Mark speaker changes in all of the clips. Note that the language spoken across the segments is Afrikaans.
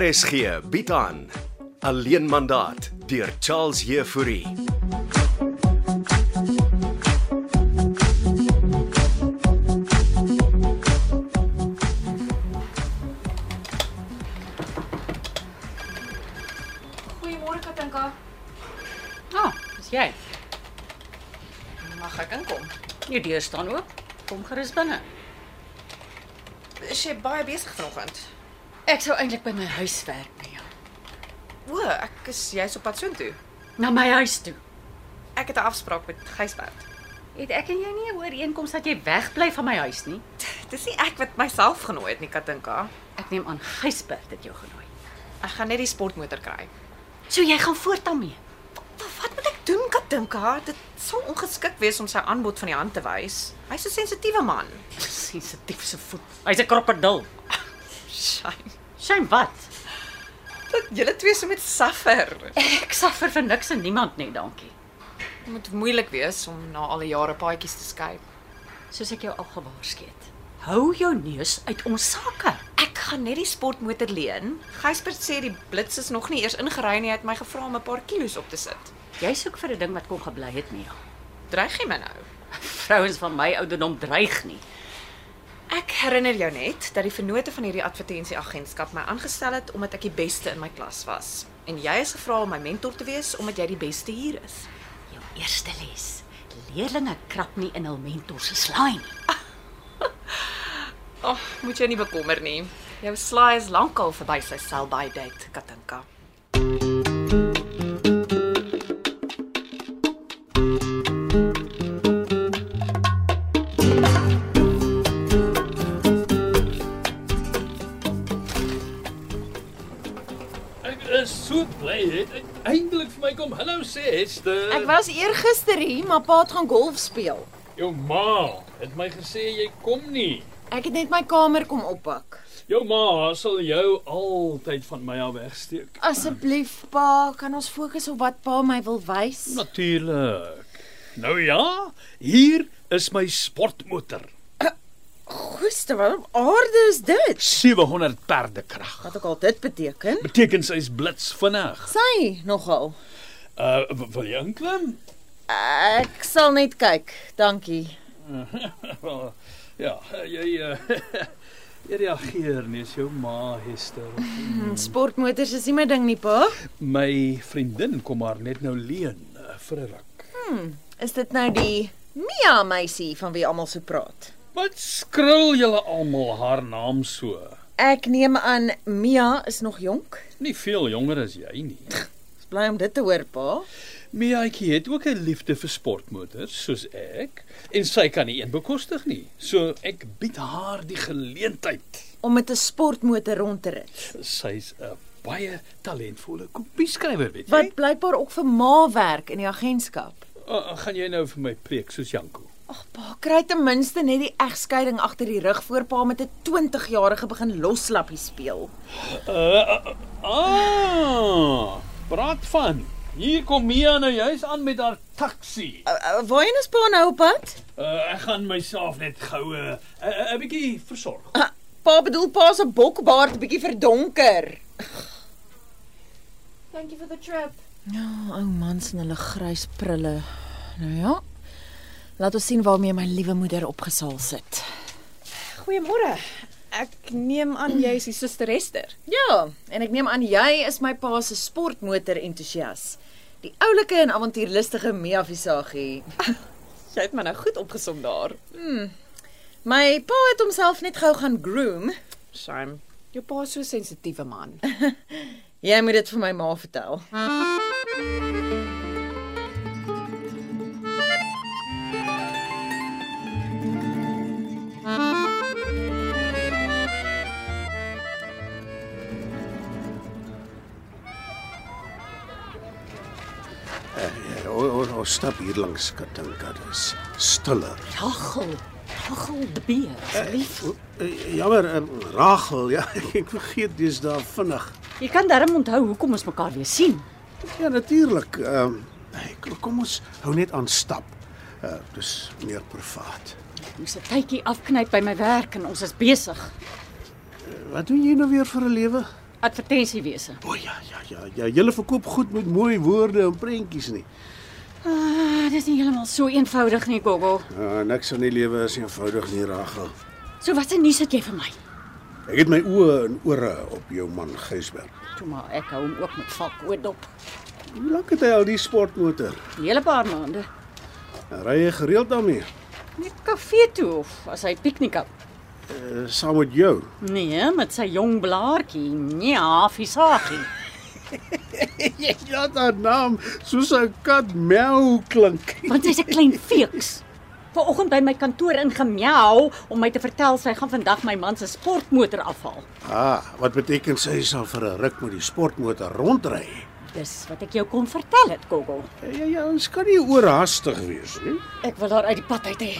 Speaker 1: RSG bied aan Alleen mandaat deur Charles Heffouri.
Speaker 2: Goeiemôre Katinka.
Speaker 3: Ah, dis jy.
Speaker 2: Mag ek inkom?
Speaker 3: Jou deur staan oop. Kom gerus binne.
Speaker 2: Is jy baie besig vanoggend?
Speaker 3: Ek sou eintlik by my huis werk, Mia.
Speaker 2: O, ek is jy's op pad soontoe.
Speaker 3: Na my huis toe.
Speaker 2: Ek het 'n afspraak met Gysbert.
Speaker 3: Het ek en jy nie 'n ooreenkoms dat jy wegbly van my huis nie?
Speaker 2: Dis nie ek wat myself genooi het nie, Katinka.
Speaker 3: Ek neem aan Gysbert het jou genooi.
Speaker 2: Ek gaan net die sportmotor kry.
Speaker 3: So jy gaan voort daarmee.
Speaker 2: Wat moet ek doen, Katinka? Dit sal ongeskik wees om sy aanbod van die hand te wys. Hy's 'n sensitiewe man.
Speaker 3: Sensitief se voet. Hy's 'n krokodil.
Speaker 2: Shame.
Speaker 3: Shame wat?
Speaker 2: Dat julle twee so met suffer.
Speaker 3: Ek suffer vir niks en niemand nie, dankie.
Speaker 2: Dit moet moeilik wees om na al die jare paadjies te skei.
Speaker 3: Soos ek jou al gewaarsku het. Hou jou neus uit ons sake.
Speaker 2: Ek gaan net die sportmotor leen. Gysbert sê die blits is nog nie eers ingery nie. Hy het my gevra om 'n paar kilos op te sit.
Speaker 3: Jy soek vir 'n ding wat kon gebly het, Mia.
Speaker 2: Dreig jy my nou?
Speaker 3: Vrouens van my ouderdom dreig nie.
Speaker 2: Ek herinner jou net dat die vennote van hierdie advertensieagentskap my aangestel het omdat ek die beste in my klas was. En jy is gevra om my mentor te wees omdat jy die beste hier is.
Speaker 3: Jou eerste les. Leerlinge krap nie in hul mentor se slaai nie.
Speaker 2: Ag, oh, moet jy nie bekommer nie. Jou slaai is lankal verby sy sell-by date, Katinka.
Speaker 4: Ek is so bly het ek eindelik vir my kom hallo sê Hester.
Speaker 5: Ek was eergister hier, maar pa het gaan golf speel.
Speaker 4: jou ma het my gesê jy kom nie.
Speaker 5: Ek het net my kamer kom oppak.
Speaker 4: Jou ma sal jou altyd van my af wegsteek.
Speaker 5: Asseblief pa, kan ons fokus op wat pa my wil wys?
Speaker 4: Natuurlik. Nou ja, hier is my sportmotor.
Speaker 5: Goeie, wat aarde is dit?
Speaker 4: 700 perdekrag.
Speaker 5: Wat ook al dit beteken.
Speaker 4: Beteken sy's blits vinnig.
Speaker 5: Sy nogal.
Speaker 4: Uh w- wil jy inklim?
Speaker 5: Ek sal net kyk. Dankie.
Speaker 4: Wel, ja, jy uh, jy reageer nie, is jou ma Hester.
Speaker 5: Hmm. Sportmotors is nie my ding nie, pa.
Speaker 4: My vriendin kom maar net nou leen eh, vir 'n ruk.
Speaker 5: Is dit nou die Mia meisie van wie almal so praat?
Speaker 4: Wat skrul julle almal haar naam so?
Speaker 5: Ek neem aan Mia is nog jonk.
Speaker 4: Nie veel jonger as jy nie.
Speaker 5: Is bly om dit te hoor, pa.
Speaker 4: Miaatjie het ook 'n liefde vir sportmotors soos ek en sy kan nie een bekostig nie. So ek bied haar die geleentheid.
Speaker 5: Om met 'n sportmotor rond te ry.
Speaker 4: Sy's 'n baie talentvolle kopieskrywer, weet jy?
Speaker 5: Wat blykbaar ook vir ma werk in die agentskap.
Speaker 4: Uh, gaan jy nou vir my preek soos Janko?
Speaker 5: Ag pa, kry ten minste net die egskeiding agter die rug voor pa met 'n 20-jarige begin loslappie speel.
Speaker 4: Uh, uh, ah! Praat van. Hier kom Mia nou juis aan met haar taxi.
Speaker 5: Uh, uh, Waarheen is pa nou op pad?
Speaker 4: Uh, ek gaan myself net goue 'n uh, 'n bietjie versorg.
Speaker 5: Uh, pa bedoel pa se bokbaard bietjie verdonker.
Speaker 6: Thank you for the trip.
Speaker 5: Ja, ou mans in hulle grys prille. Nou ja. Laat ons sien waarmee my liewe moeder opgesaal sit.
Speaker 6: Goeiemôre. Ek neem aan jy is die suster Esther.
Speaker 5: Ja, en ek neem aan jy is my pa se sportmotor entoesias. Die oulike en avontuurlustige Mia Visagie.
Speaker 2: Jy het my nou goed opgesom daar.
Speaker 5: My pa het homself net gou gaan groom.
Speaker 2: Shame. Jou pa is so 'n sensitiewe man.
Speaker 5: Jy moet dit vir my ma vertel.
Speaker 1: Ons stap hier langs Katinka, dis stiller.
Speaker 3: Rachel, Rachel beer, lief.
Speaker 1: Eh, Jammer, eh, Rachel, ja, ek vergeet dis daar vinnig.
Speaker 3: Jy kan darm onthou hoekom ons mekaar weer sien.
Speaker 1: Ja, natuurlik. Ehm hey, kom- kom ons hou net aan stap. Uh, dis meer privaat.
Speaker 3: Ek moes 'n tydjie afknyp by my werk en ons is besig.
Speaker 1: Wat doen jy nou weer vir 'n lewe?
Speaker 3: advertensiewese.
Speaker 1: O ja, ja, ja, ja. Julle verkoop goed met mooi woorde en prentjies nie.
Speaker 3: Ah, dit is nie heeltemal so eenvoudig nie, Gogo.
Speaker 1: Uh, niks in die lewe is eenvoudig nie, Ragel.
Speaker 3: So wat se nuus het jy vir my?
Speaker 1: Ek het my oë en ore op jou man Gysberg.
Speaker 3: Toe maar ek hou hom ook met valk oordop.
Speaker 1: Hoe lank het hy al die sportmotor?
Speaker 3: 'n Hele paar maande.
Speaker 1: En Ry hy gereeld daarmee?
Speaker 3: Net kafee toe of as hy piknik hou.
Speaker 1: Uh, saam met jou.
Speaker 3: Nee, met sy jong blaartjie. Nee, hafisaagie.
Speaker 1: Jy laat haar naam soos 'n kat mel klink.
Speaker 3: Want hy's 'n klein feeks. Vanoggend by my kantoor ingemjau om my te vertel sy gaan vandag my man se sportmotor afhaal.
Speaker 1: Ah, wat beteken sy sal vir 'n ruk met die sportmotor rondry?
Speaker 3: Dis wat ek jou kon vertel het, Gogo.
Speaker 1: Ja ja, ons kan nie oorhaastig wees nie.
Speaker 3: Ek wil haar uit die pad uit hê.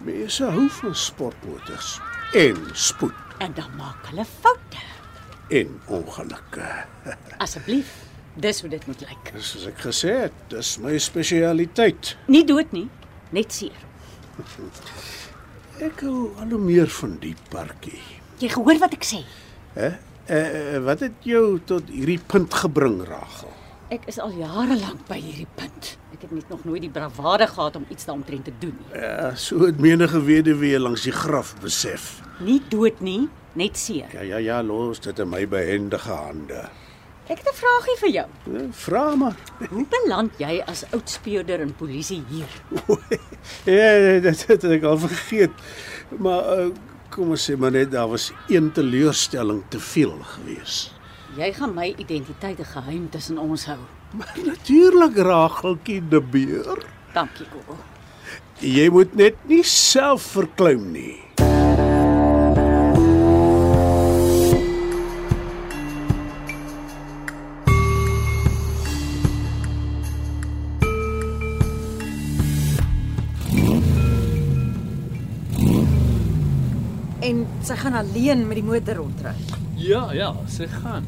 Speaker 1: Mense hou van sportmotors en spoed
Speaker 3: En dan maak hulle foute.
Speaker 1: en ongelukke.
Speaker 3: Asseblief. Dis hoe dit moet lyk.
Speaker 1: Dis soos ek gesê het, dis my spesialiteit.
Speaker 3: Nie dood nie, net seer.
Speaker 1: Ek hou al hoe meer van die parkie.
Speaker 3: Jy gehoor wat ek sê?
Speaker 1: Hè? Eh, eh, wat het jou tot hierdie punt gebring, Ragel?
Speaker 3: Ek is al jare lank by hierdie punt. Ek het net nog nooit die bravade gehad om iets daaromtrent te doen nie.
Speaker 1: Ja, so het menige weduwee langs die graf besef.
Speaker 3: Nie dood nie, net seer.
Speaker 1: Ja ja ja, los dit in my behendige hande.
Speaker 3: Ek het 'n vraagie vir jou.
Speaker 1: Eh, Vra maar.
Speaker 3: Hoe beland jy as oud speurder in polisie hier?
Speaker 1: Ja, dit het ek al vergeet. Maar eh, kom ons sê maar net daar was een teleurstelling te veel gewees.
Speaker 3: Jy gaan my identiteit 'n geheim tussen ons hou.
Speaker 1: Maar natuurlik Rageltjie de Beer.
Speaker 3: Dankie, Gogo.
Speaker 1: Jy moet net nie self verkleum nie.
Speaker 6: En sy gaan alleen met die motor rondry.
Speaker 4: Ja, ja, sy gaan.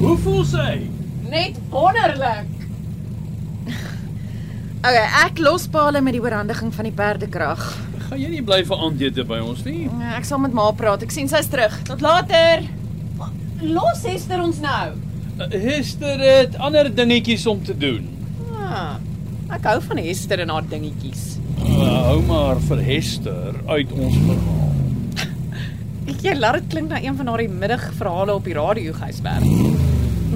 Speaker 4: Hoe voel sy?
Speaker 6: Net wonderlik.
Speaker 5: Okay, ek los Paul met die oorhandiging van die perdekrag.
Speaker 4: Gaan jy nie bly vir aandete by ons nie?
Speaker 5: Ek sal met ma praat. Ek sien sy's terug. Tot later.
Speaker 6: Los Hester ons nou.
Speaker 4: Eh, Hester het ander dingetjies om te doen.
Speaker 2: Ah, ek hou van Hester en haar dingetjies.
Speaker 4: Uh, hou maar vir Hester uit ons verhaal.
Speaker 2: Ek jy laat dit klink na een van haar die middagverhale op die radio Gysberg.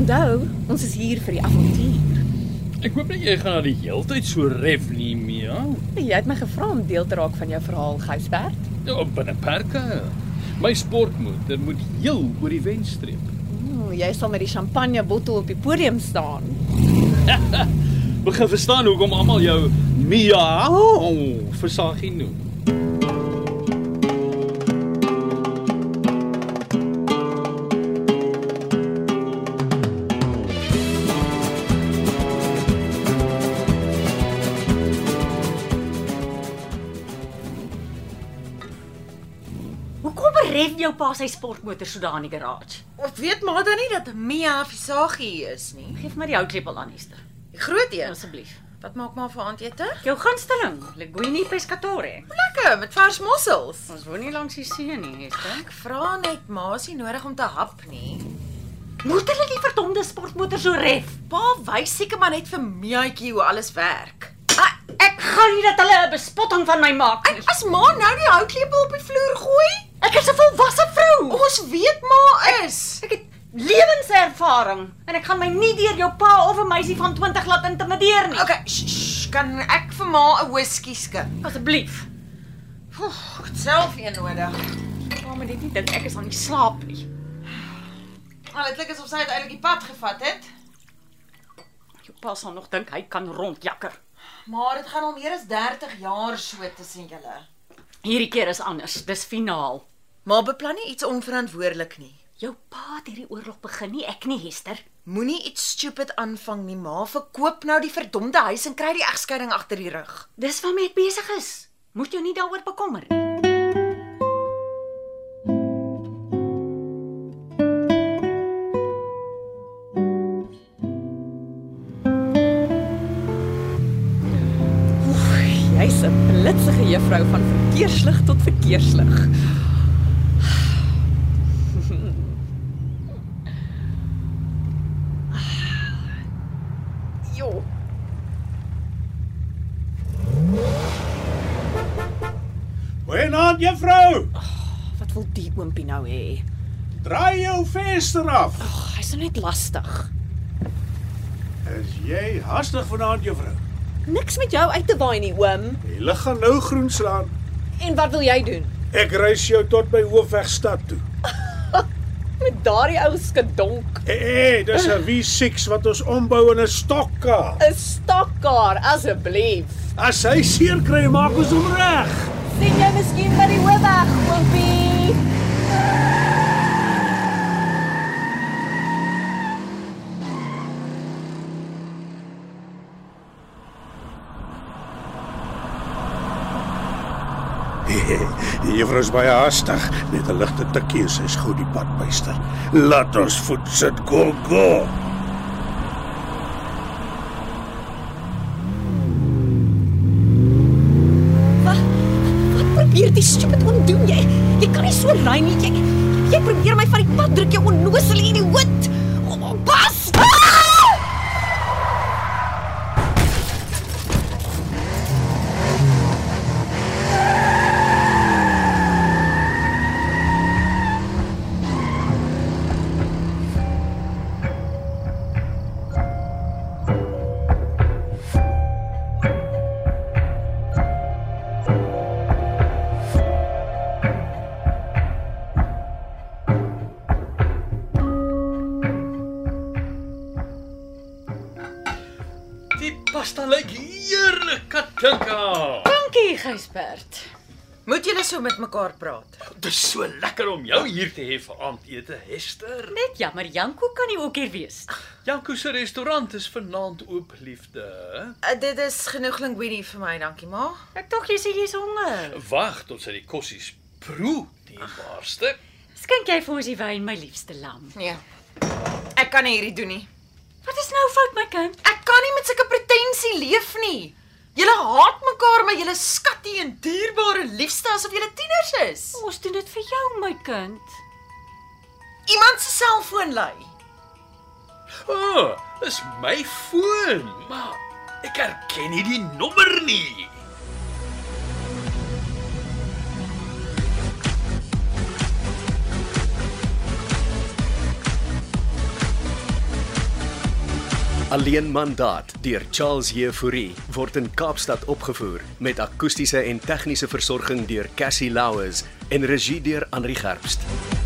Speaker 6: Onthou, ons is hier vir die avontuur.
Speaker 4: Ek hoop nie jy gaan na die heeltyd so ref nie, Mia.
Speaker 2: Nee, Jy het my gevra om deel te raak van jou verhaal Gysberg.
Speaker 4: Ja, binne perke. My sportmoeder moet heel oor die wenstreep.
Speaker 2: Hmm, jy sal met die champagne bottel op die podium staan.
Speaker 4: Begin verstaan hoekom almal jou Mia oh, versaggie noem.
Speaker 3: Hoekom beref jou pa sy sportmotor so daar in die garage?
Speaker 7: Of weet maar dan nie dat Mia Visagie is nie.
Speaker 3: Geef my die houtlepel aan, Hester,
Speaker 7: Die groot een.
Speaker 3: asseblief.
Speaker 7: Wat maak maar vir aandete?
Speaker 3: Jou gunsteling, Leguini pescatore.
Speaker 7: Lekker met vars mossels.
Speaker 3: Ons woon nie langs die see nie, Hester.
Speaker 7: Ek vra net maar as jy nodig om te hap nie.
Speaker 3: Moet hulle die verdomde sportmotor so ref?
Speaker 7: Pa wys seker maar net vir Miaatjie hoe alles werk.
Speaker 3: Ah, ek gaan nie dat hulle 'n bespotting van my maak nie.
Speaker 7: As ma nou die houtlepel op die vloer gooi,
Speaker 3: Ek is 'n volwasse vrou.
Speaker 7: ons weet maar is.
Speaker 3: Ek het lewenservaring en ek gaan my nie deur jou pa of 'n meisie van 20 laat intimideer nie.
Speaker 7: Okay, sh, sh, kan ek vir ma 'n whisky skink?
Speaker 3: Asseblief.
Speaker 7: Oef, Ek het self een nodig.
Speaker 3: Pa moet net nie dink ek is aan die slaap nie.
Speaker 7: Al dit klink asof sy uiteindelik die pad gevat het,
Speaker 3: Jou pa sal nog dink hy kan rondjakker.
Speaker 7: maar dit gaan al meer as 30 jaar so tussen julle.
Speaker 3: Hierdie keer is anders. Dis finaal.
Speaker 7: Maar beplan nie iets onverantwoordelik nie.
Speaker 3: Jou pa het hierdie oorlog begin nie, ek nie, Hester.
Speaker 7: Moenie iets stupid aanvang nie, ma. Verkoop nou die verdomde huis en kry die egskeiding agter die rug.
Speaker 3: Dis waarmee ek besig is. Moet jou nie daaroor bekommer nie.
Speaker 6: Jy's 'n blitsige juffrou van verkeerslig tot verkeerslig.
Speaker 1: Goeienaand juffrou.
Speaker 2: Wat wil die oompie nou hê?
Speaker 1: Draai jou venster af.
Speaker 2: Ag, hy's nou net lastig.
Speaker 1: Is jy hastig vanaand juffrou?
Speaker 2: Niks met jou uit te waai nie, oom.
Speaker 1: Die lig gaan nou groen slaan.
Speaker 2: En wat wil jy doen?
Speaker 1: Ek reis jou tot by Hoofweg stad toe.
Speaker 2: Met daardie ou skadonk,
Speaker 1: Hé, hey, dis 'n V6 wat ons ombou in 'n stokka.
Speaker 2: 'n stakkar asseblief.
Speaker 1: As hy seer kry, maak ons hom reg.
Speaker 2: Sien jy miskien by die hoofweg, oompie?
Speaker 1: Die juffrou is baie haastig. Net 'n ligte tikkie en sy's gou die pad byster. Laat ons voet sit go go.
Speaker 2: Probeer die stupid oom doen jy. Jy kan nie so ry nie. Jy jy probeer my van die pad druk, jy onnosel idioot. Oh, Bas!
Speaker 4: Die pasta lyk heerlik, Katinka.
Speaker 3: Dankie, Gysbert.
Speaker 5: Moet julle so met mekaar praat?
Speaker 4: Dit is so lekker om jou hier te hê vir aandete, Hester.
Speaker 3: Net jammer Janko kan nie ook hier wees.
Speaker 4: Janko se restaurant is vanaand oop, liefde.
Speaker 5: Uh, dit is genoeg linguini vir my, dankie ma.
Speaker 3: Ek tog jy sê jy's honger.
Speaker 4: Wag tot sy die kossies proe, dierbaarste.
Speaker 3: Skink jy vir ons die wyn, my liefste lam?
Speaker 5: Nee. Ek kan nie hierdie doen nie.
Speaker 3: Wat is nou fout my kind?
Speaker 5: Ek kan nie met sulke pretensie leef nie. Julle haat mekaar, maar julle skatty en dierbare liefste asof julle tieners is.
Speaker 3: Ons doen dit vir jou, my kind.
Speaker 5: Iemand se selfoon lui.
Speaker 4: O, oh, is my foon, maar ek herken nie die nommer nie.
Speaker 8: Alleen mandaat deur Charles Jefouri word in Kaapstad opgevoer met akoestiese en tegniese versorging deur Cassie Louws en regie deur Henri Gerst.